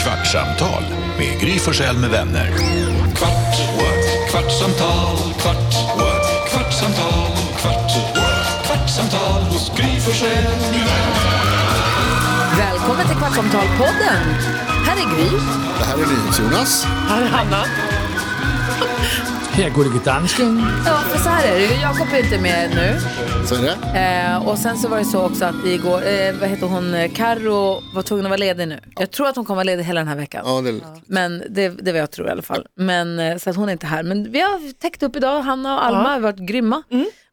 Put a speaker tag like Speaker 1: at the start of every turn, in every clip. Speaker 1: Kvartsamtal med Gry Forssell med vänner. Kvart, what? kvartsamtal, kvart, what? kvartsamtal, kvart, what? kvartsamtal, Gry Forssell med vänner.
Speaker 2: Välkommen till Kvartsamtal-podden. Här är Gry.
Speaker 3: Det här är NyhetsJonas.
Speaker 4: Jag går i dansken.
Speaker 2: Ja, för så här är det. Jakob är inte med nu.
Speaker 3: Så är det.
Speaker 2: Eh, och sen så var det så också att igår, eh, vad heter hon, Eh, Karo var tvungen att vara ledig nu. Jag tror att hon kommer vara ledig hela den här veckan.
Speaker 3: Ja, det är lite.
Speaker 2: Men det, det är vad jag tror i alla fall. Men, eh, så att hon är inte här. Men vi har täckt upp idag. Hanna och Alma har varit grymma.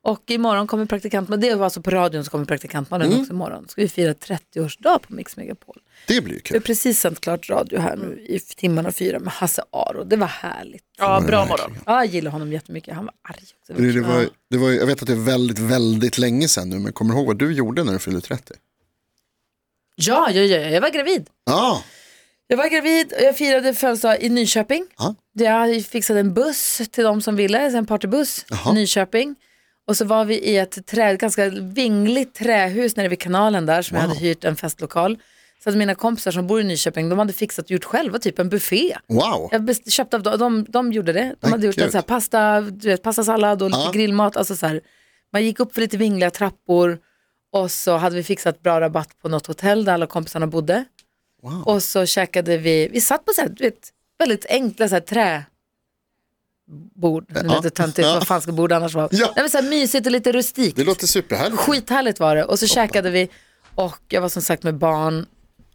Speaker 2: Och imorgon kommer praktikantmannen, det var alltså på radion så kommer praktikantmannen också imorgon. Ska vi fira 30-årsdag på Mix Megapol.
Speaker 3: Det blir ju
Speaker 2: Vi har
Speaker 3: kul.
Speaker 2: precis sänt klart radio här nu i timmarna fyra med Hasse Aro. Det var härligt.
Speaker 5: Ja, bra morgon.
Speaker 2: Ja, jag gillar honom jättemycket. Han var arg också.
Speaker 3: Det, det var, det var, jag vet att det är väldigt, väldigt länge sedan nu, men kommer du ihåg vad du gjorde när du fyllde 30?
Speaker 2: Ja, ja, ja, jag var gravid.
Speaker 3: Ja,
Speaker 2: Jag var gravid och jag firade födelsedag i Nyköping.
Speaker 3: Ja.
Speaker 2: Jag fixade en buss till de som ville, en partybuss,
Speaker 3: Jaha.
Speaker 2: Nyköping. Och så var vi i ett trä, ett ganska vingligt trähus nere vid kanalen där som jag hade hyrt en festlokal. Så att mina kompisar som bor i Nyköping, de hade fixat och gjort själva typ en buffé.
Speaker 3: wow.
Speaker 2: Jag best- köpte av dem, de, de gjorde det. De
Speaker 3: Men
Speaker 2: hade gjort
Speaker 3: kul.
Speaker 2: en så här pasta, du vet, pastasallad och lite
Speaker 3: Ja.
Speaker 2: grillmat. Alltså så här, man gick upp för lite vingliga trappor och så hade vi fixat bra rabatt på något hotell där alla kompisarna bodde.
Speaker 3: Wow.
Speaker 2: Och så käkade vi, vi satt på så här, du vet, väldigt enkla så här, träbord. Nu
Speaker 3: Ja.
Speaker 2: lät det töntigt,
Speaker 3: Ja.
Speaker 2: vad fan ska bord annars vara?
Speaker 3: Ja.
Speaker 2: Nej, men så här, mysigt och lite rustikt.
Speaker 3: Det låter superhärligt.
Speaker 2: Skithärligt var det. Och så käkade vi och jag var som sagt med barn,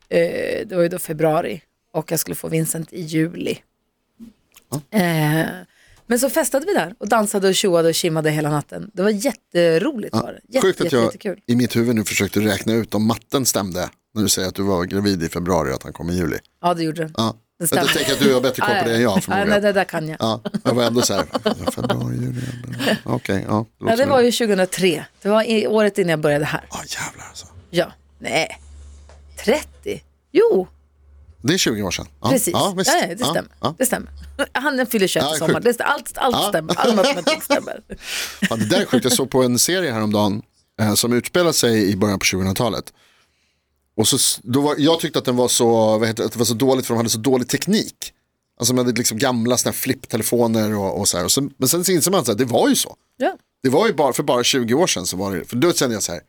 Speaker 2: eh, det var ju då februari och jag skulle få Vincent i juli. Eh, men så festade vi där och dansade och tjoade och kimmade hela natten. Det var jätteroligt var det. Jätte,
Speaker 3: Sjukt att
Speaker 2: jätte,
Speaker 3: jag
Speaker 2: jättekul.
Speaker 3: i mitt huvud nu försökte räkna ut om matten stämde när du säger att du var gravid i februari och att han kom i juli.
Speaker 2: Ja det gjorde det.
Speaker 3: Ja.
Speaker 2: Det
Speaker 3: Jag tänker att du har bättre koll på det än jag
Speaker 2: Ja, nej,
Speaker 3: förmodligen.
Speaker 2: det där kan jag.
Speaker 3: Ja, jag var ändå så här, februari, juli, okej, ja.
Speaker 2: Ja, det
Speaker 3: låter-
Speaker 2: var ju 2003. Det var i, året innan jag började här.
Speaker 3: Ja, jävlar alltså.
Speaker 2: Ja. Nej. 30? Jo,
Speaker 3: Det är 20 år sedan. Ja,
Speaker 2: Precis,
Speaker 3: Ja,
Speaker 2: ja,
Speaker 3: visst.
Speaker 2: det, stämmer.
Speaker 3: Ja,
Speaker 2: det stämmer. Han fyller 21
Speaker 3: Ja,
Speaker 2: i sommar.
Speaker 3: sjukt.
Speaker 2: Det, stä- allt allt
Speaker 3: Ja.
Speaker 2: stämmer. All matematik stämmer.
Speaker 3: Ja, det där är sjukt. Jag såg på en serie häromdagen eh, som utspelar sig i början på 2000-talet. Och så, s- då var, jag tyckte att den var så, vad heter, det, att det var så dåligt för de hade så dålig teknik. Alltså de hade liksom gamla såna här flipptelefoner och, och så här. Och sen, men sen så inser man att det var ju så.
Speaker 2: Ja.
Speaker 3: Det var ju bara, för bara 20 år sedan så var det, för då kände jag så här,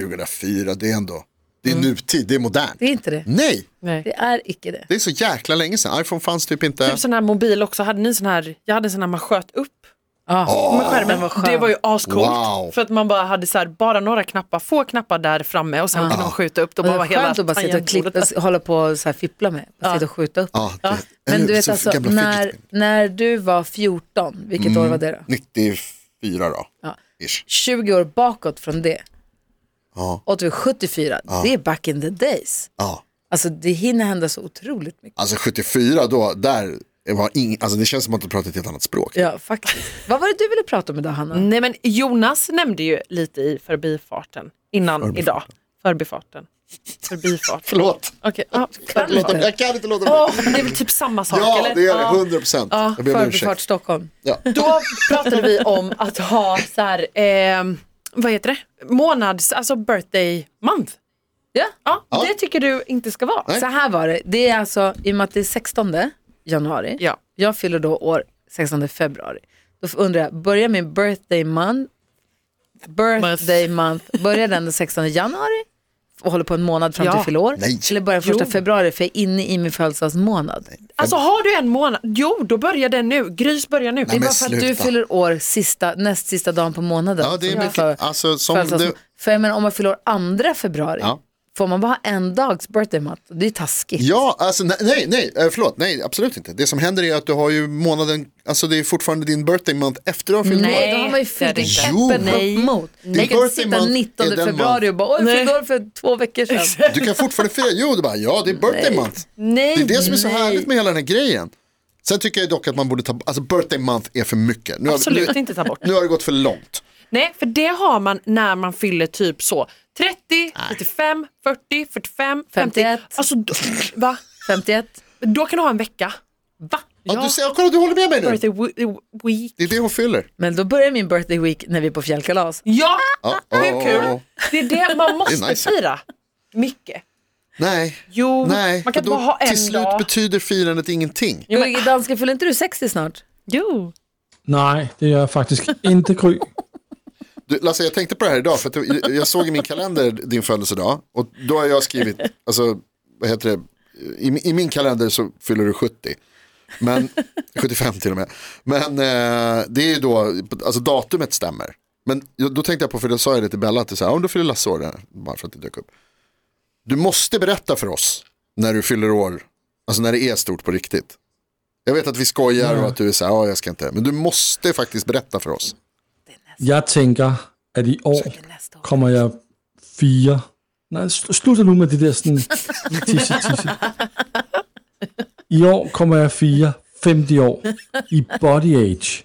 Speaker 3: 2004, det är ändå, det är nutid, det är modernt.
Speaker 2: Mm. Det är inte det.
Speaker 3: Nej,
Speaker 2: Det är icke det.
Speaker 3: det är så jäkla länge sedan. iPhone fanns typ inte.
Speaker 5: Typ sån här mobil också, hade ni sån här, jag hade en sån här man sköt upp med skärmen. Det var ju ascoolt.
Speaker 3: Wow.
Speaker 5: För att man bara hade så här, bara några knappar, få knappar där framme och
Speaker 3: Ah.
Speaker 5: sen kunde de skjuta upp. Då
Speaker 2: Och det var
Speaker 5: bara var hela
Speaker 2: skönt att bara sitta och klippa,
Speaker 5: tangentbordet där.
Speaker 2: hålla på och så här fippla med. Bara Sitta och skjuta upp.
Speaker 3: Ja, det- eller
Speaker 2: Men
Speaker 3: hur?
Speaker 2: du vet
Speaker 3: Så
Speaker 2: alltså,
Speaker 3: gamla Mm. fidget
Speaker 2: när, när
Speaker 3: spinner.
Speaker 2: du var 14, vilket år var det då?
Speaker 3: 94 då.
Speaker 2: Ja.
Speaker 3: Ish.
Speaker 2: 20 år bakåt från det.
Speaker 3: Ja.
Speaker 2: Och du är 74, det är back in the days.
Speaker 3: Ja.
Speaker 2: Alltså det hinner hända så otroligt mycket.
Speaker 3: Alltså 74 då, där var ing, alltså det känns som att du pratar ett helt annat språk.
Speaker 2: Ja, faktiskt. Vad var det du ville prata om idag Hanna?
Speaker 3: Mm.
Speaker 5: Nej men Jonas nämnde ju lite i förbifarten innan idag. Förbifarten. Förbifarten.
Speaker 3: Förlåt,
Speaker 5: Okej, ja,
Speaker 3: Förlåt.
Speaker 5: förbifarten.
Speaker 3: jag kan inte låta bli.
Speaker 5: Åh, det är väl typ samma sak
Speaker 3: ja,
Speaker 5: eller?
Speaker 3: det är det,
Speaker 5: Ja.
Speaker 3: 100 procent.
Speaker 5: Ja,
Speaker 3: jag ber om
Speaker 2: Förbifart
Speaker 3: ursäkt.
Speaker 2: Stockholm.
Speaker 3: Ja.
Speaker 5: Då pratade vi om att ha så här, eh, vad heter det, månads, alltså birthday month.
Speaker 2: Ja.
Speaker 5: Ja, det tycker du inte ska vara.
Speaker 3: Nej.
Speaker 2: Så här var det, det är alltså i och med att det är 16 januari,
Speaker 5: Ja.
Speaker 2: jag fyller då år 16 februari. Då undrar jag, börjar min birthday month, birthday month, börjar den den 16 januari och håller på en månad fram till
Speaker 5: Ja.
Speaker 2: jag fyller år?
Speaker 3: Nej.
Speaker 2: Eller börjar den första
Speaker 5: Jo.
Speaker 2: februari för jag är inne i min födelsedagsmånad?
Speaker 5: Alltså har du en månad, jo då börjar den nu, Grys börjar nu.
Speaker 2: Det är
Speaker 3: men
Speaker 2: bara för att du
Speaker 3: sluta.
Speaker 2: fyller år sista, näst sista dagen på månaden.
Speaker 3: Ja, det är
Speaker 2: som du
Speaker 3: mycket-
Speaker 2: för-
Speaker 3: alltså, som
Speaker 2: födelsedags-
Speaker 3: du-
Speaker 2: För jag menar, om man fyller år andra februari,
Speaker 3: Ja.
Speaker 2: får man bara ha en dags birthday month? Det är ju taskigt.
Speaker 3: ja, alltså ne- nej, nej, eh, förlåt, nej, absolut inte. Det som händer är att du har ju månaden, alltså det är fortfarande din birthday month efter du har fyllt
Speaker 2: Nej,
Speaker 3: år.
Speaker 2: då har man ju
Speaker 5: det är
Speaker 2: fyllt
Speaker 5: det
Speaker 2: i
Speaker 5: inte.
Speaker 2: käppen
Speaker 5: Jo.
Speaker 2: upp mot. Jag kan inte
Speaker 3: birthday
Speaker 2: sitta
Speaker 3: month
Speaker 2: 19
Speaker 3: är den
Speaker 2: februari och bara, oj, jag fyllde år för två veckor sedan.
Speaker 3: Du kan fortfarande fira, jo, du bara, ja, det är birthday month.
Speaker 5: Nej,
Speaker 3: Det är det som är så
Speaker 5: nej.
Speaker 3: härligt med hela den här grejen. Sen tycker jag dock att man borde ta, alltså birthday month är för mycket. Nu har,
Speaker 5: Absolut
Speaker 3: nu,
Speaker 5: inte ta bort.
Speaker 3: Nu har det gått för långt.
Speaker 5: Nej, för det har man när man fyller typ så 30, 35, 40, 45, 50.
Speaker 2: 51.
Speaker 5: Alltså, då, va?
Speaker 2: 51.
Speaker 5: Då kan du ha en vecka. Va?
Speaker 3: Ja, Du säger, kolla du håller med mig nu.
Speaker 5: birthday we- week.
Speaker 3: Det är det hon fyller.
Speaker 2: Men då börjar min birthday week när vi är på fjällkalas.
Speaker 5: Ja,
Speaker 3: Ja,
Speaker 5: hur
Speaker 3: ja, ja,
Speaker 5: kul?
Speaker 3: ja.
Speaker 5: Det är det man måste
Speaker 3: nice.
Speaker 5: fira. Mycket.
Speaker 3: Nej,
Speaker 5: Jo,
Speaker 3: nej.
Speaker 5: man kan
Speaker 3: för då,
Speaker 5: bara ha en
Speaker 3: till slut
Speaker 5: dag.
Speaker 3: betyder firandet ingenting.
Speaker 2: Jo, men danska, fyller inte du 60 snart?
Speaker 5: Jo.
Speaker 4: Nej, det gör jag faktiskt inte Gry.
Speaker 3: Du, Lasse, jag tänkte på det här idag, för att jag- jag såg i min kalender din födelsedag. Och då har jag skrivit, alltså, vad heter det, i, min- i min kalender så fyller du 70. Men, 75 till och med. Men eh, det är ju då, alltså datumet stämmer. Men jag- då tänkte jag på, för då sa jag det till Bella, att det är så här, om du fyller Lasse år, där", bara för att det dök upp. Du måste berätta för oss när du fyller år, alltså när det är stort på riktigt. Jag vet att vi skojar och att du är så här, ja jag ska inte, men du måste faktiskt berätta för oss.
Speaker 4: Jag tänker att i år
Speaker 2: Nästa år.
Speaker 4: kommer jag fira... Nej, sl- sluta nu med det där sådan... Tisse, tisse. I år kommer jag fira 50 år i body age.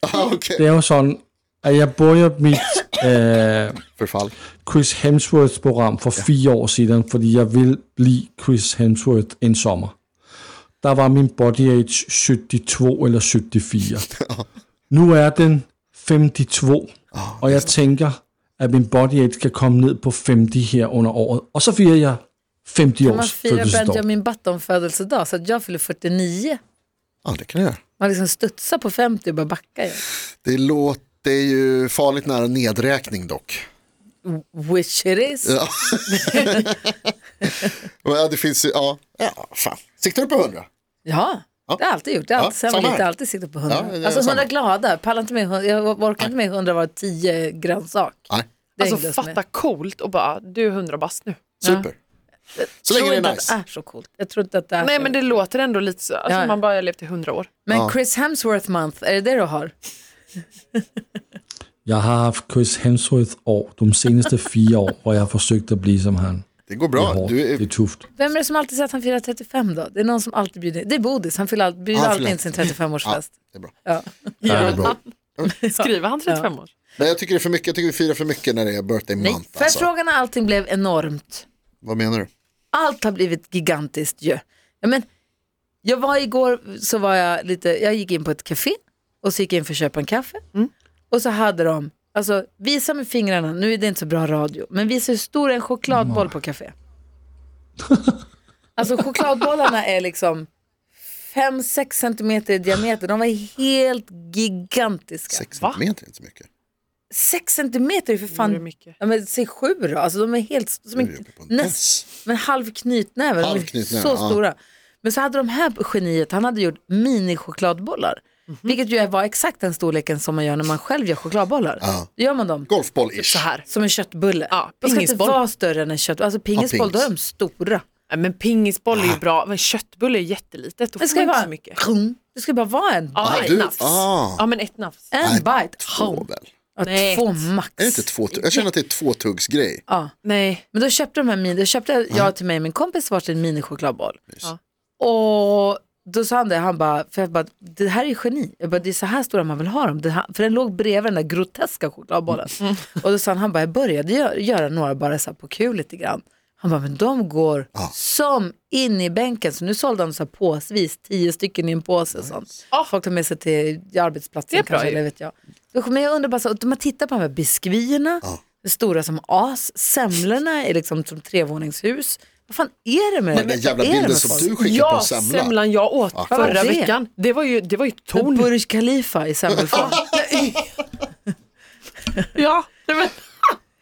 Speaker 3: Ah, okay.
Speaker 4: Det är ju sådan att jag började mitt eh,
Speaker 3: Förfall.
Speaker 4: Chris Hemsworths program för fyra år sedan, fordi jag vill bli Chris Hemsworth en sommar. Der var min body age 72 eller 74. Nu är den 52, och jag tänker att min body age kan komma ned på 50 här under året. Och så firar jag 50
Speaker 2: Man
Speaker 4: års
Speaker 2: firar
Speaker 4: födelsedag.
Speaker 2: Benjamin Button födelsedag så att jag fyller 49.
Speaker 3: Ja, det kan jag göra.
Speaker 2: Man liksom studsar på 50 och bara backar. ju.
Speaker 3: Det låter ju farligt nära nedräkning dock.
Speaker 2: Which it is.
Speaker 3: Ja. Men ja, det finns ju, ja. ja fan. Siktar du på 100?
Speaker 2: Ja, det har jag alltid gjort. Det har
Speaker 3: Ja,
Speaker 2: alltid
Speaker 3: samma
Speaker 2: sämre,
Speaker 3: här.
Speaker 2: lite alltid sitta på
Speaker 3: Ja, det
Speaker 2: hundra.
Speaker 3: är
Speaker 2: alltså
Speaker 3: samma.
Speaker 2: hundra glada, pallar inte med, hundra- jag orkar inte med hundra var tio grönsak.
Speaker 3: Nej,
Speaker 2: Det hängde
Speaker 5: Alltså
Speaker 2: oss med.
Speaker 5: fatta coolt och bara, du är hundra bast nu.
Speaker 3: super. Så
Speaker 2: Jag
Speaker 3: länge
Speaker 2: tror
Speaker 3: det
Speaker 2: inte
Speaker 3: är
Speaker 2: att Ah. det
Speaker 3: nice.
Speaker 2: är så coolt. Jag tror inte att det är
Speaker 5: Nej
Speaker 2: så.
Speaker 5: men det låter ändå lite så, alltså,
Speaker 2: Ja.
Speaker 5: man bara har levt i hundra år.
Speaker 2: Men Chris Hemsworth month, är det det du har?
Speaker 4: Jag har haft Chris Hemsworth år de senaste fyra år, och jag har försökt att bli som han.
Speaker 3: Det går
Speaker 4: Det
Speaker 3: bra.
Speaker 4: är,
Speaker 3: Du
Speaker 4: det är
Speaker 3: är,
Speaker 4: tufft.
Speaker 2: Vem är det som alltid säger att han firar 35 då? Det är någon som alltid bjuder in. Det är Bodis, han fyller all, bjuder
Speaker 3: Han
Speaker 2: alltid
Speaker 3: fyller-
Speaker 2: in sin 35-årsfest.
Speaker 3: det är bra.
Speaker 2: Ja.
Speaker 4: Ja, det är bra.
Speaker 5: Skriver han 35 år?
Speaker 3: Nej, jag tycker det är för mycket. Jag tycker vi firar för mycket när det är birthday
Speaker 2: Nej,
Speaker 3: month.
Speaker 2: för jag
Speaker 3: Alltså.
Speaker 2: fråga när allting blev enormt?
Speaker 3: Vad menar du?
Speaker 2: Allt har blivit gigantiskt ju. Ja, men, jag var igår, så var jag lite, jag gick in på ett café och så gick jag in för att köpa en kaffe. Och så hade de, alltså visa med fingrarna, nu är det inte så bra radio, men visa hur stor en chokladboll på café. Alltså chokladbollarna är liksom 5-6 centimeter i diameter, de var helt gigantiska.
Speaker 3: Sex centimeter är inte så mycket.
Speaker 2: 6 centimeter är för
Speaker 5: Det är
Speaker 2: fan,
Speaker 5: mycket.
Speaker 2: ja, men säg 7 då, alltså de är helt, som
Speaker 3: Du är
Speaker 2: en,
Speaker 3: uppe på en
Speaker 2: näst,
Speaker 3: tess.
Speaker 2: men halv knytnäve, de
Speaker 3: Halv
Speaker 2: är
Speaker 3: knytnäve,
Speaker 2: så
Speaker 3: ja.
Speaker 2: stora. Men så hade de här geniet, han hade gjort mini-chokladbollar.
Speaker 5: Mhm.
Speaker 2: Vilket ju var exakt den storleken som man gör när man själv gör chokladbollar.
Speaker 3: Ja.
Speaker 2: Då gör man dem
Speaker 3: Golfboll-ish.
Speaker 5: Så här.
Speaker 2: som en köttbulle.
Speaker 5: Ja,
Speaker 2: de ska inte
Speaker 5: pingisboll.
Speaker 2: vara större än en köttbulle. Alltså pingisboll,
Speaker 3: pingis.
Speaker 2: då är de stora.
Speaker 5: Nej, men pingisboll är ju bra, men köttbulle är jättelitet.
Speaker 2: Det
Speaker 5: Då får
Speaker 2: ska
Speaker 5: man
Speaker 2: ju
Speaker 5: inte
Speaker 2: vara,
Speaker 5: så mycket.
Speaker 2: det ska ju bara vara en,
Speaker 5: Ja,
Speaker 3: Ah,
Speaker 5: ett
Speaker 3: du-
Speaker 5: nafs.
Speaker 3: ah.
Speaker 5: Ja, men ett nafs.
Speaker 2: en bite.
Speaker 3: Två väl?
Speaker 2: Ja,
Speaker 5: Nej.
Speaker 2: två max.
Speaker 3: Är det inte två? Jag känner att det är två tuggs grej.
Speaker 2: Ja.
Speaker 5: Nej.
Speaker 2: Men då köpte, de här mini, då köpte jag- jag till mig och min kompis varsin minichokladboll.
Speaker 5: Ja.
Speaker 2: Och då sa han det, han bara, för jag bara, det här är ju geni. Jag bara, det är så här stora man vill ha dem. Det här, för den låg bredvid den där groteska chokladbollen.
Speaker 5: Mm.
Speaker 2: Och då sa han, han bara, jag började gö- göra några bara så här på kul lite grann. Han bara, men de går som in i bänken. Så nu sålde han så här påsvis, tio stycken i en påse. och Sånt.
Speaker 5: Ah.
Speaker 2: Folk tar med sig till
Speaker 5: Det är
Speaker 2: arbetsplatsen
Speaker 5: bra
Speaker 2: kanske,
Speaker 5: ju.
Speaker 2: eller vet jag. Då kommer jag undra, bara så, och man tittar på de här biskvierna, stora som as, semlorna är liksom som trevåningshus. Vad fan är det med
Speaker 3: Men
Speaker 2: det?
Speaker 3: den jävla
Speaker 2: Vad är det
Speaker 3: bilden
Speaker 2: med
Speaker 3: som
Speaker 2: folk?
Speaker 3: du skickade på
Speaker 5: Ja,
Speaker 3: en semla.
Speaker 5: semlan jag åt
Speaker 2: vad
Speaker 5: förra
Speaker 2: var det?
Speaker 5: veckan. Det var ju, det var ju ett
Speaker 2: Med
Speaker 5: torn.
Speaker 2: Burj Khalifa i semmelform.
Speaker 5: Ja, nej, men,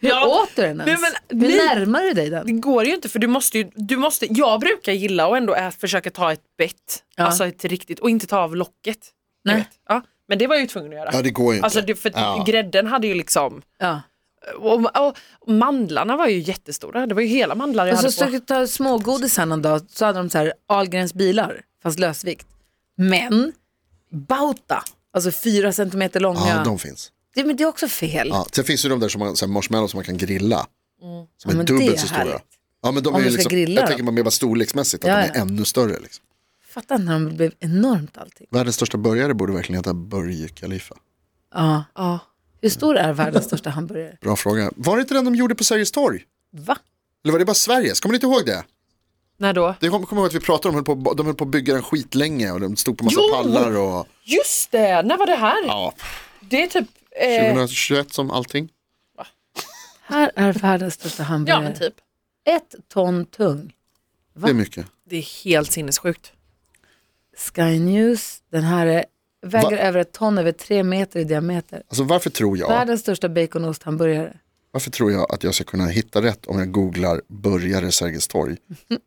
Speaker 5: ja.
Speaker 2: Åt du den ens?
Speaker 5: Nej, men-
Speaker 2: Hur
Speaker 5: nej.
Speaker 2: närmar du dig
Speaker 5: Det
Speaker 2: den?
Speaker 5: går ju inte för du måste ju, du måste, jag brukar gilla och ändå ä, försöka ta ett bett,
Speaker 2: Ja.
Speaker 5: alltså ett riktigt, och inte ta av locket. Ni
Speaker 2: Nej.
Speaker 5: vet. Ja, men det var jag ju tvungen att göra.
Speaker 3: Ja, det går ju inte.
Speaker 5: Alltså det, för
Speaker 3: Ja.
Speaker 5: grädden hade ju liksom,
Speaker 2: Ja.
Speaker 5: och, och, och mandlarna var ju jättestora, det var ju hela mandlar jag
Speaker 2: Och så
Speaker 5: hade på.
Speaker 2: stod jag och smågodis här någon dag så hade de så här Ahlgrens bilar, fast lösvikt. Men Bauta, alltså fyra centimeter långa.
Speaker 3: Ja, de finns.
Speaker 2: det, men det är också fel.
Speaker 3: Ja, sen finns det ju de där som man, så här marshmallows som man kan grilla. Som
Speaker 2: Mm. Ja,
Speaker 3: är
Speaker 2: men det är
Speaker 3: dubbelt så stora.
Speaker 2: härligt.
Speaker 3: Ja, men de
Speaker 2: Om
Speaker 3: är ju
Speaker 2: du ska
Speaker 3: liksom,
Speaker 2: grilla
Speaker 3: jag
Speaker 2: dem.
Speaker 3: tänker man mer bara storleksmässigt, att
Speaker 2: Ja,
Speaker 3: de är
Speaker 2: ja.
Speaker 3: ännu större. Liksom.
Speaker 2: Fatta när de blev enormt allting.
Speaker 3: Världens största burgare borde verkligen heta Burj Khalifa.
Speaker 2: Ja.
Speaker 5: Ja.
Speaker 2: Hur stor är världens största hamburgare?
Speaker 3: Bra fråga. Var det inte den de gjorde på Sergels torg?
Speaker 2: Va?
Speaker 3: Eller var det bara Sveriges? Kommer ni inte ihåg det?
Speaker 5: När då?
Speaker 3: Det kommer kom ihåg att vi pratade om, de höll på, de höll på att bygga den skitlänge och de stod på massa
Speaker 5: Jo!
Speaker 3: pallar och
Speaker 5: Just det, när var det här?
Speaker 3: ja,
Speaker 5: Det är typ, eh,
Speaker 3: 2021 som allting.
Speaker 2: Här är världens största
Speaker 5: ja
Speaker 2: hamburgare.
Speaker 5: men typ.
Speaker 2: Ett ton tung. Va?
Speaker 3: Det är mycket.
Speaker 5: Det är helt sinnessjukt.
Speaker 2: Sky News, den här är, väger
Speaker 3: Va?
Speaker 2: över ett ton, över tre meter i diameter.
Speaker 3: Alltså varför tror jag,
Speaker 2: Världens största baconosthamburgare.
Speaker 3: varför tror jag att jag ska kunna hitta rätt om jag googlar burgare Sergels torg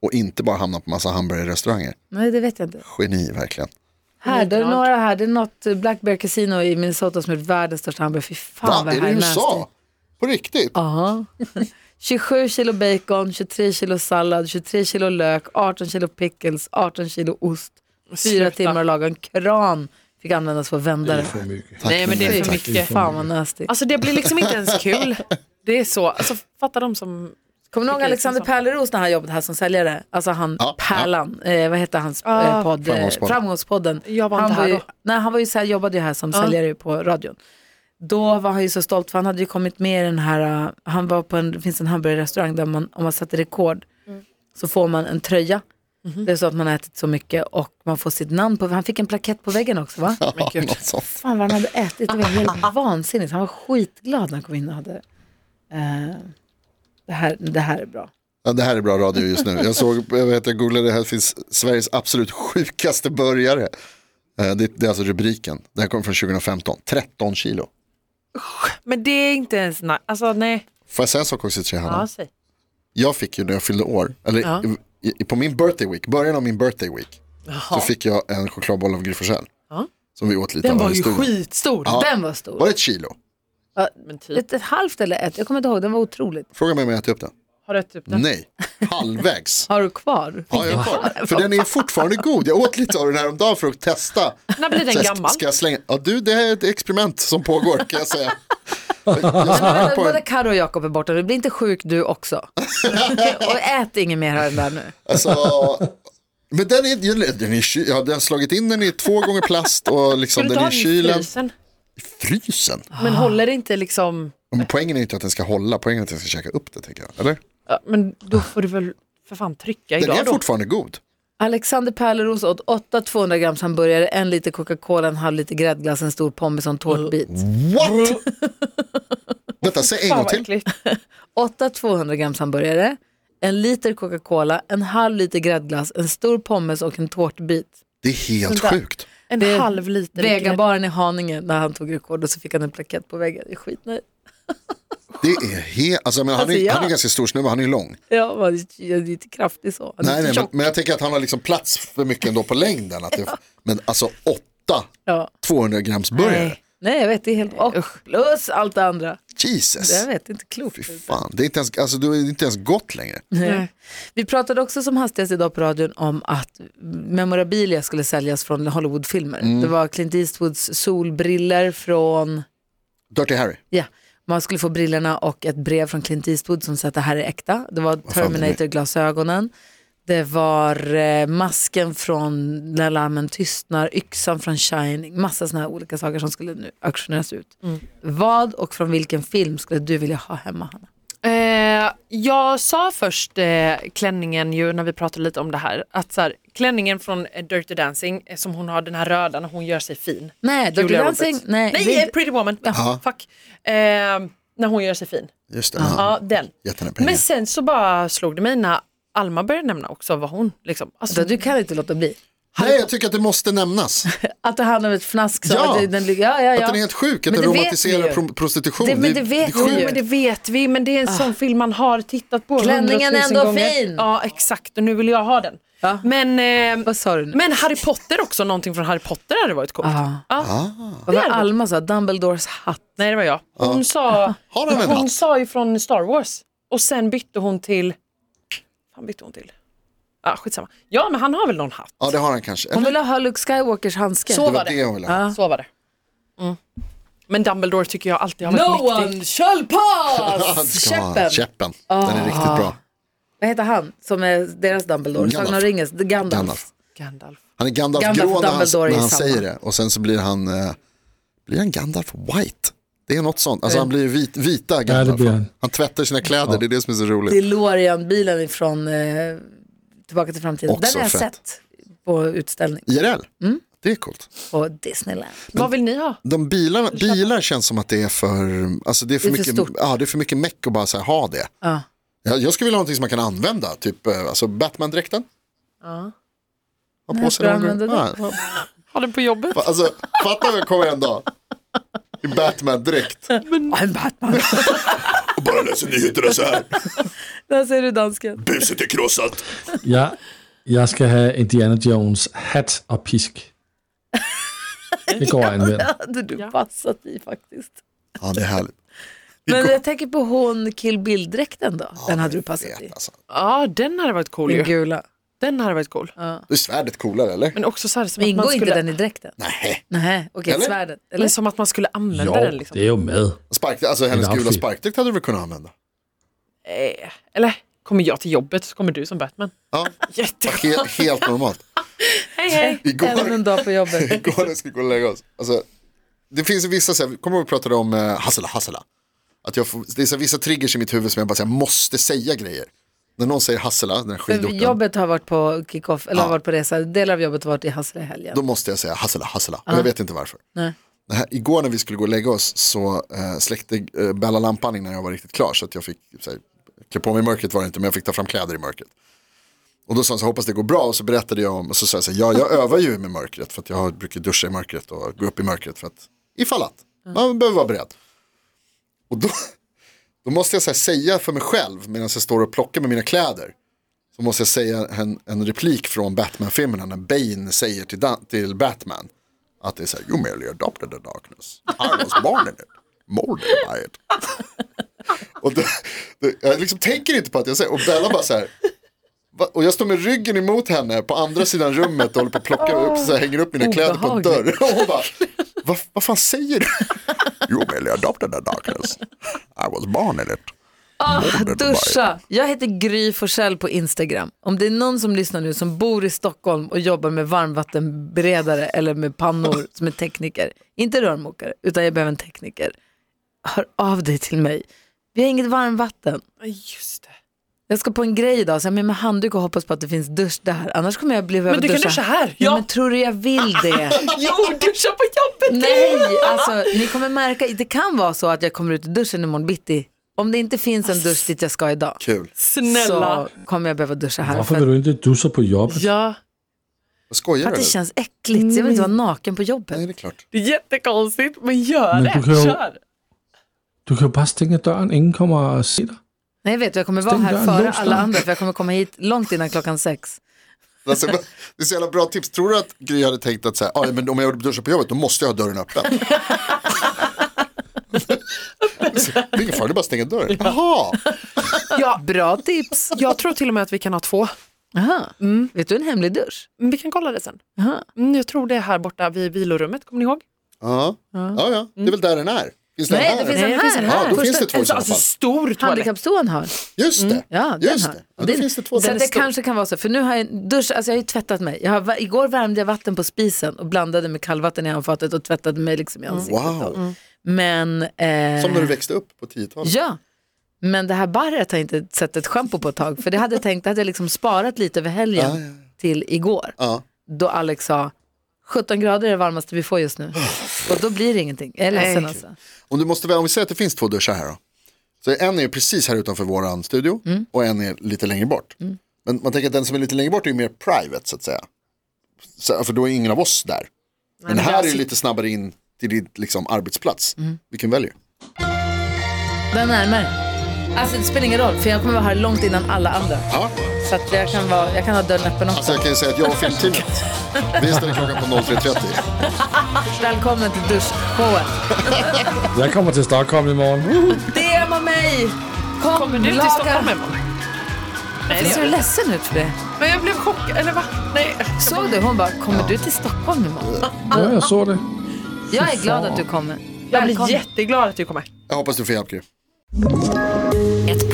Speaker 3: och inte bara hamna på massa hamburgerrestauranger?
Speaker 2: Nej, det vet jag inte.
Speaker 3: Geni verkligen.
Speaker 2: Här, det är några här. Det är något eh, Black Bear Casino i Minnesota som är världens största hamburgare. Fy fan
Speaker 3: Va,
Speaker 2: vad
Speaker 3: är det i
Speaker 2: här
Speaker 3: USA? På riktigt?
Speaker 2: Ja. 27 kilo bacon, 23 kilo sallad, 23 kilo lök, 18 kilo pickles, 18 kilo ost. Fyra
Speaker 5: Sluta.
Speaker 2: timmar att laga en kran fick användas för att vända det.
Speaker 4: För mycket.
Speaker 3: Tack,
Speaker 5: Nej men det är för
Speaker 3: tack.
Speaker 5: mycket.
Speaker 2: Fan vad nasty.
Speaker 5: Alltså det blir liksom inte ens kul. Det är så, alltså fatta de som...
Speaker 2: Kommer ni ihåg
Speaker 5: Vilket
Speaker 2: Alexander
Speaker 5: liksom-
Speaker 2: Pärleros när han jobbade här som säljare? Alltså han,
Speaker 3: Ja,
Speaker 2: Pärlan, eh, vad hette hans
Speaker 5: Ah.
Speaker 2: eh, podd?
Speaker 3: Framgångspodden.
Speaker 2: Framgångspodden. Framgångspodden.
Speaker 5: Jag var
Speaker 2: han
Speaker 5: inte här
Speaker 2: ju,
Speaker 5: då.
Speaker 2: Nej, han var ju så här, jobbade ju här som säljare på radion. Då var han ju så stolt för han hade ju kommit med i den här, eh, han var på en, det finns en hamburgerrestaurang där man, om man sätter rekord så får man en tröja. Det är så att man har ätit så mycket och man får sitt namn på, han fick en plakett på väggen också va?
Speaker 3: Ja, något sånt.
Speaker 2: Fan vad han hade ätit, det var helt vansinnigt. Han var skitglad när han kom in och hade, eh, det, här, det här är bra.
Speaker 3: Ja, det här är bra radio just nu. Jag, såg, jag, vet, jag googlade, det här finns Sveriges absolut sjukaste burgare. Eh, Det, det är alltså rubriken. Det här kommer från 2015. 13 kilo.
Speaker 5: Men det är inte ens, nej. Alltså nej.
Speaker 3: Får jag säga en sak också till dig Hanna?
Speaker 5: Ja, säg.
Speaker 3: Jag fick ju när jag fyllde år, eller
Speaker 5: Ja.
Speaker 3: i, i, på min birthday week, början av min birthday week, så fick jag en chokladboll av Gry Forssell.
Speaker 5: Ja.
Speaker 3: Som vi åt lite
Speaker 5: Den
Speaker 3: av
Speaker 5: var
Speaker 3: i
Speaker 5: ju
Speaker 3: studion.
Speaker 5: skitstor.
Speaker 3: Ja.
Speaker 2: Den var stor.
Speaker 3: Var det ett kilo?
Speaker 2: Ja,
Speaker 5: Men typ,
Speaker 2: Ett, ett halvt eller ett, jag kommer inte ihåg, den var otroligt.
Speaker 3: Fråga mig om jag äter upp den.
Speaker 5: har du ätit upp den?
Speaker 3: Nej, halvvägs.
Speaker 2: Har du kvar?
Speaker 3: Ja, jag har kvar. För den är fortfarande god. Jag åt lite av den här om dagen för att testa.
Speaker 5: När blir
Speaker 3: Så
Speaker 5: den
Speaker 3: jag-
Speaker 5: gammal?
Speaker 3: Ska jag slänga? Ja, du, det här är ett experiment som pågår kan jag säga. Jag sprang på
Speaker 2: Både
Speaker 3: en,
Speaker 2: Karo och Jakob är borta, du blir inte sjuk du också. och ät inget mer av den där nu.
Speaker 3: alltså, men den är, den är, ky- jag hade slagit in den i två gånger plast och
Speaker 5: Ska
Speaker 3: liksom
Speaker 5: du
Speaker 3: den
Speaker 5: inte
Speaker 3: är
Speaker 5: ha
Speaker 3: i
Speaker 5: den i
Speaker 3: kylen.
Speaker 5: frysen?
Speaker 3: Frysen?
Speaker 5: Men håller det inte liksom,
Speaker 3: Men poängen är ju inte att den ska hålla, poängen är att jag ska käka upp det tänker jag. Eller?
Speaker 5: ja, men då får du väl för fan trycka
Speaker 3: Den är
Speaker 5: idag då.
Speaker 3: fortfarande god.
Speaker 2: Alexander Pärleros åt 8 200 grams hamburgare, en liter Coca-Cola, en halv liter gräddglass, en stor pommes och en tårtbit.
Speaker 3: Mm. What? Detta, säg en
Speaker 5: Fan
Speaker 3: gång
Speaker 5: vad
Speaker 3: till.
Speaker 5: äckligt.
Speaker 2: 8 200 grams hamburgare, en liter Coca-Cola, en halv liter gräddglass, en stor pommes och en tårtbit.
Speaker 3: Det är helt
Speaker 5: Vänta.
Speaker 3: sjukt.
Speaker 5: En
Speaker 2: Det är
Speaker 5: halv liter. grädde.
Speaker 2: Vegabaren i Haninge, när han tog rekord och så fick han en plakett på väggen. Jag är skitnöjd.
Speaker 3: Det är helt, alltså, men han,
Speaker 2: Alltså,
Speaker 3: är,
Speaker 2: ja.
Speaker 3: han är ganska stor snubbe, han är ju lång.
Speaker 2: Ja, man, det är inte kraftig så. Han är
Speaker 3: Nej,
Speaker 2: inte
Speaker 3: nej, men,
Speaker 2: tjock.
Speaker 3: men jag tänker att han har liksom plats för mycket ändå på längden. Att det, men alltså åtta
Speaker 2: Ja.
Speaker 3: 200 grams burgare.
Speaker 2: Nej. Nej, jag vet, det är helt... Och plus allt det andra. Det
Speaker 3: Jesus.
Speaker 2: jag vet, det är inte klokt.
Speaker 3: Fy fan, det är inte ens, alltså, du är inte ens gott längre.
Speaker 2: Nej. Vi pratade också som hastigast idag på radion om att memorabilia skulle säljas från Hollywoodfilmer. Det var Clint Eastwoods solbriller från...
Speaker 3: Dirty Harry.
Speaker 2: Ja, man skulle få brillorna och ett brev från Clint Eastwood som sa att det här är äkta. Det var
Speaker 3: fan,
Speaker 2: Terminator-glasögonen. Det var eh, masken från När lammen tystnar, yxan från Shining, massa sådana här olika saker som skulle nu auktioneras ut.
Speaker 5: Mm.
Speaker 2: Vad och från vilken film skulle du vilja ha hemma, Hanna?
Speaker 5: Eh, jag sa först eh, klänningen ju när vi pratade lite om det här. Att så här, klänningen från eh, Dirty Dancing eh, som hon har den här röda när hon gör sig fin.
Speaker 2: Nej, Dirty
Speaker 5: Julia
Speaker 2: Dancing,
Speaker 5: Roberts.
Speaker 2: nej.
Speaker 5: Nej,
Speaker 2: vi-
Speaker 5: eh, Pretty Woman.
Speaker 3: Ja.
Speaker 5: Fuck. Eh, när hon gör sig fin.
Speaker 3: Just det,
Speaker 5: Ja, den.
Speaker 3: jättenäpen.
Speaker 5: Men sen så bara slog det mig när Alma började nämna också vad hon liksom. Alltså,
Speaker 2: Du kan inte låta bli.
Speaker 3: Nej, jag tycker att det måste nämnas.
Speaker 2: Att det handlar om ett fnask som
Speaker 3: Ja.
Speaker 2: att den ligger, ja, ja, ja.
Speaker 3: Att den är helt sjuk, att
Speaker 2: Men
Speaker 3: den
Speaker 2: det vet vi
Speaker 3: romantiserar
Speaker 2: ju.
Speaker 3: pro- prostitution.
Speaker 2: Det- men det vet vi
Speaker 3: är
Speaker 5: Jo,
Speaker 3: sjukt.
Speaker 2: ju.
Speaker 5: men det vet vi, men det är en sån film man har tittat på
Speaker 2: Klänningen är
Speaker 5: 100 000
Speaker 2: ändå
Speaker 5: gånger.
Speaker 2: fin.
Speaker 5: Ja, exakt. Och nu vill jag ha den.
Speaker 2: Ja.
Speaker 5: Men, eh,
Speaker 2: Vad sa du nu? Ah.
Speaker 5: men Harry Potter också, någonting från Harry Potter hade varit coolt.
Speaker 2: Ja.
Speaker 5: Ja.
Speaker 2: Vad var Alma sa? Dumbledores hatt.
Speaker 5: Nej, det var jag. Hon, sa,
Speaker 3: Har han en
Speaker 5: hon
Speaker 3: hatt?
Speaker 5: sa ju från Star Wars och sen bytte hon till... Fan bytte hon till? Ja, skitsamma. Ja, men han har väl någon hatt?
Speaker 3: Ja, det har han kanske.
Speaker 2: Hon
Speaker 3: Eller,
Speaker 2: ville ha Luke Skywalkers handske.
Speaker 5: Så
Speaker 3: det
Speaker 5: var
Speaker 3: var
Speaker 5: det.
Speaker 3: det hon ville ha.
Speaker 2: Ja.
Speaker 5: Så var det. Mm. Men Dumbledore tycker jag alltid har varit
Speaker 2: No
Speaker 5: mäktig.
Speaker 2: one shall
Speaker 3: Ja, det
Speaker 2: pass!
Speaker 3: ska vara han.
Speaker 2: Käppen. Ah.
Speaker 3: Käppen. Den är riktigt bra.
Speaker 2: Vad heter han som är deras Dumbledore?
Speaker 3: Gandalf.
Speaker 2: Sagan om ringens The Gandalf.
Speaker 3: Gandalf.
Speaker 5: Gandalf.
Speaker 3: Han är Gandalf,
Speaker 2: Gandalf
Speaker 3: grå
Speaker 2: och
Speaker 3: när han,
Speaker 2: Dumbledore
Speaker 3: när
Speaker 2: är
Speaker 3: han
Speaker 2: samma.
Speaker 3: säger det. Och sen så blir han, eh, blir han Gandalf white? Det är något sånt. Alltså han blir vit, vita Gandalf.
Speaker 4: det blir han. tvättar
Speaker 3: tvättar sina kläder, det är det som är så roligt.
Speaker 2: DeLorean-bilen ifrån eh, Tillbaka till framtiden.
Speaker 3: Också
Speaker 2: Den har jag
Speaker 3: fett.
Speaker 2: sett på utställning
Speaker 3: IRL,
Speaker 2: Mm.
Speaker 3: det är coolt.
Speaker 2: på Disneyland.
Speaker 5: Vad vill ni ha?
Speaker 3: De bilarna, bilar känns som att det är för, alltså det är för,
Speaker 2: Det är för
Speaker 3: mycket,
Speaker 2: stort.
Speaker 3: ja, det är för mycket meck att bara så här, ha det.
Speaker 2: Ja.
Speaker 3: Jag, jag skulle vilja ha någonting som man kan använda, typ eh, alltså Batman-dräkten. Ja. Ha på sig
Speaker 2: ska
Speaker 3: någon
Speaker 2: jag
Speaker 3: gång.
Speaker 2: använda
Speaker 3: Ja.
Speaker 5: Har den på jobbet?
Speaker 3: Fa- Alltså, fatta om jag kommer en dag i Batman-dräkt
Speaker 2: I'm Batman.
Speaker 3: och bara läser nyheterna så här.
Speaker 2: Där ser du dansken.
Speaker 3: Buset är krossat.
Speaker 4: Jeg, jeg skal have Indiana Jones hat og pisk. Det går at anvende.
Speaker 2: Det hade du passat i faktiskt.
Speaker 3: Ja, det är härligt. Vi
Speaker 2: Men
Speaker 3: går-
Speaker 2: jag tänker på hon Kill Bill-dräkten då. den hade du passat i.
Speaker 3: Fet, alltså.
Speaker 5: Ja, den hade varit cool
Speaker 2: Den
Speaker 5: ju.
Speaker 2: gula.
Speaker 5: Den hade varit cool.
Speaker 3: Då är svärdet coolare, eller?
Speaker 5: Men också så här som
Speaker 2: Men
Speaker 5: att man
Speaker 2: ingår inte
Speaker 5: skulle,
Speaker 2: den i dräkten?
Speaker 3: Nej.
Speaker 2: Nej, okej,
Speaker 3: Eller?
Speaker 2: svärdet. Eller?
Speaker 5: eller som att man skulle använda
Speaker 4: Jo,
Speaker 5: den liksom.
Speaker 4: det er jo med.
Speaker 3: Spark, alltså hennes
Speaker 4: En
Speaker 3: gula
Speaker 4: outfit.
Speaker 3: sparkdräkt hade du väl kunnat använda?
Speaker 5: Eh, Eller kommer jag till jobbet så kommer du som Batman.
Speaker 3: Ja,
Speaker 5: Jätte...
Speaker 3: helt, helt normalt.
Speaker 5: Hej hej!
Speaker 2: Även
Speaker 3: Igår,
Speaker 2: en dag på jobbet.
Speaker 3: igår när jag skulle gå och lägga oss. Alltså, det finns vissa, så här, kommer du ihåg vi pratade om eh, hassela, hassela? Att jag får, det är så här, vissa triggers i mitt huvud som jag bara säger, jag måste säga grejer. När någon säger hassela, den här skidorten,
Speaker 2: Jobbet har varit på kick-off, eller har varit på resa. Delar av jobbet har varit i Hassela i helgen.
Speaker 3: då måste jag säga hassela, hassela. Och jag vet inte varför.
Speaker 2: Nej.
Speaker 3: Det här, igår när vi skulle gå och lägga oss så eh, släckte eh, Bella lampan innan jag var riktigt klar. Så att jag fick så här, klä på mig i mörkret var det inte, men jag fick ta fram kläder i mörkret. Och då sa han så här, hoppas det går bra. Och så berättade jag om, och så sa jag så här, ja, jag övar ju med mörkret. För att jag brukar duscha i mörkret och gå upp i mörkret. För att ifall att, man behöver vara beredd. Och då, då måste jag så här, säga för mig själv medan jag står och plockar med mina kläder. Så måste jag säga en, en replik från Batman-filmerna när Bane säger till, Dan, till Batman. Att det är så här, you merely adopted the darkness. I was born in it. Molded by it. och det, det, jag liksom tänker inte på att jag säger, och Bella bara så här. "Va?" Och jag står med ryggen emot henne på andra sidan rummet och håller på att plocka upp, så här, hänger upp mina kläder på en dörr. Och hon bara, vad, vad fan säger du? you merely adopted the darkness. I was born in it. Molded by it."
Speaker 2: Duscha! Jag heter Gry Forssell på Instagram. Om det är någon som lyssnar nu som bor i Stockholm och jobbar med varmvattenberedare eller med pannor som är tekniker, inte rörmokare, utan jag behöver en tekniker, hör av dig till mig. Vi har inget varmvatten.
Speaker 5: Ja, Just det.
Speaker 2: Jag ska på en grej idag, så jag är med, med handduk och hoppas på att det finns dusch där. Annars kommer jag bli behöva
Speaker 5: Men du kan duscha här.
Speaker 2: Ja.
Speaker 5: Ja.
Speaker 2: Men tror du jag vill det?
Speaker 5: Jo, duscha på jobbet!
Speaker 2: Nej, alltså ni kommer märka, det kan vara så att jag kommer ut ur duschen imorgon bitti. Om det inte finns en dusch dit jag ska idag
Speaker 3: Kul.
Speaker 5: Snälla.
Speaker 2: så kommer jag behöva duscha här.
Speaker 4: Hvorfor
Speaker 2: För
Speaker 4: vil
Speaker 2: att,
Speaker 4: du ikke dusse på jobbet?
Speaker 5: Ja,
Speaker 3: Vad skojar
Speaker 2: för att
Speaker 3: du?
Speaker 2: det känns äckligt. Jag vill inte vara naken på
Speaker 3: Nej,
Speaker 2: jobbet.
Speaker 3: det är klart.
Speaker 5: det är jättekonstigt, men gör
Speaker 4: Men
Speaker 5: det.
Speaker 4: du kan ju-
Speaker 5: Kör!
Speaker 4: Du kan jo bare stænge døren, ingen kommer og se dig.
Speaker 2: Nej, jag vet du, jag kommer vara här
Speaker 4: Stäng
Speaker 2: före
Speaker 4: dörren, lås
Speaker 2: alla
Speaker 4: dörren.
Speaker 2: andra för jag kommer komma hit långt innan klockan sex.
Speaker 3: Alltså, det är så jävla bra tips. Tror du att Gry hade tänkt att så här, "Ah, men om jag duschar på jobbet då måste jag ha dörren öppen? Alltså, det är ingen fara, det är bara att stänga dörren. Jaha,
Speaker 5: Ja,
Speaker 2: Bra tips!
Speaker 5: jag tror till och med att vi kan ha två.
Speaker 2: Aha. Vet du en hemlig dusch?
Speaker 5: Men Vi kan kolla det sen.
Speaker 2: Aha.
Speaker 5: Mm, jag tror det är här borta vid vilorummet, kommer ni ihåg?
Speaker 3: ja. ja, ja, det är väl där den är. Finns den
Speaker 2: Nej,
Speaker 3: här?
Speaker 2: det finns en
Speaker 5: Nej, det finns
Speaker 2: här.
Speaker 5: en
Speaker 3: Ja, då
Speaker 2: här.
Speaker 3: finns det två i
Speaker 5: Alltså,
Speaker 3: så
Speaker 5: alltså
Speaker 3: fall.
Speaker 5: stor toalett.
Speaker 2: Handikappstoan har.
Speaker 3: Just det,
Speaker 2: Mm. Ja, den
Speaker 3: just
Speaker 2: har.
Speaker 3: det. Ja, då
Speaker 2: Den-
Speaker 3: finns det två.
Speaker 2: Så
Speaker 3: där.
Speaker 2: att det kanske kan vara så, för nu har jag dusch, alltså jag har ju tvättat mig. Jag har, va- igår värmde jag vatten på spisen och blandade med kallvatten i handfatet och tvättade mig liksom i ansiktet.
Speaker 3: Wow,
Speaker 2: Men, eh,
Speaker 3: som när du växte upp på 10-talet.
Speaker 2: Ja, men det här barret har jag inte sett ett schampo på ett tag. För det hade jag tänkt, det hade jag liksom sparat lite över helgen
Speaker 3: Ja, ja, ja.
Speaker 2: till igår.
Speaker 3: Ja.
Speaker 2: Då Alex sa, 17 grader är det varmaste vi får just nu. Och då blir det ingenting. Jag är ledsen alltså.
Speaker 3: Om, du måste, väl- om vi säger att det finns två duschar här då. Så en är ju precis här utanför våran studio och en är lite längre bort. Men man tänker att den som är lite längre bort är ju mer private så att säga. Så, för då är ingen av oss där. men
Speaker 5: men
Speaker 3: här
Speaker 5: jag
Speaker 3: är ju
Speaker 5: sit-
Speaker 3: lite snabbare in till din liksom, arbetsplats. Vilken väljer
Speaker 2: Den närmare. Alltså det spelar ingen roll, för jag kommer vara här långt innan alla andra.
Speaker 3: ja.
Speaker 2: Så att jag kan, vara, jag kan ha dörren öppen också.
Speaker 3: Alltså jag kan ju säga att jag och filmteamet, vi ställer klockan på 03.30.
Speaker 2: Välkommen till duschshowen.
Speaker 4: Jeg kommer til Stockholm i morgen.
Speaker 2: DMa mig! Kom,
Speaker 5: Kommer du till
Speaker 2: laga.
Speaker 5: Stockholm imorgon? Nej,
Speaker 2: Jag
Speaker 5: det
Speaker 2: ser
Speaker 5: gör
Speaker 2: du
Speaker 5: jag.
Speaker 2: ledsen ut för det?
Speaker 5: Men jag blev chockad, eller va? Nej.
Speaker 2: Såg du? Hon bara, kommer du till Stockholm imorgon?
Speaker 4: Ja, jeg så det.
Speaker 2: Jag är glad att du kommer.
Speaker 5: Jag blir
Speaker 2: Välkommen.
Speaker 5: jätteglad att du kommer.
Speaker 3: Jag hoppas du får hjälp Gry.
Speaker 6: Ett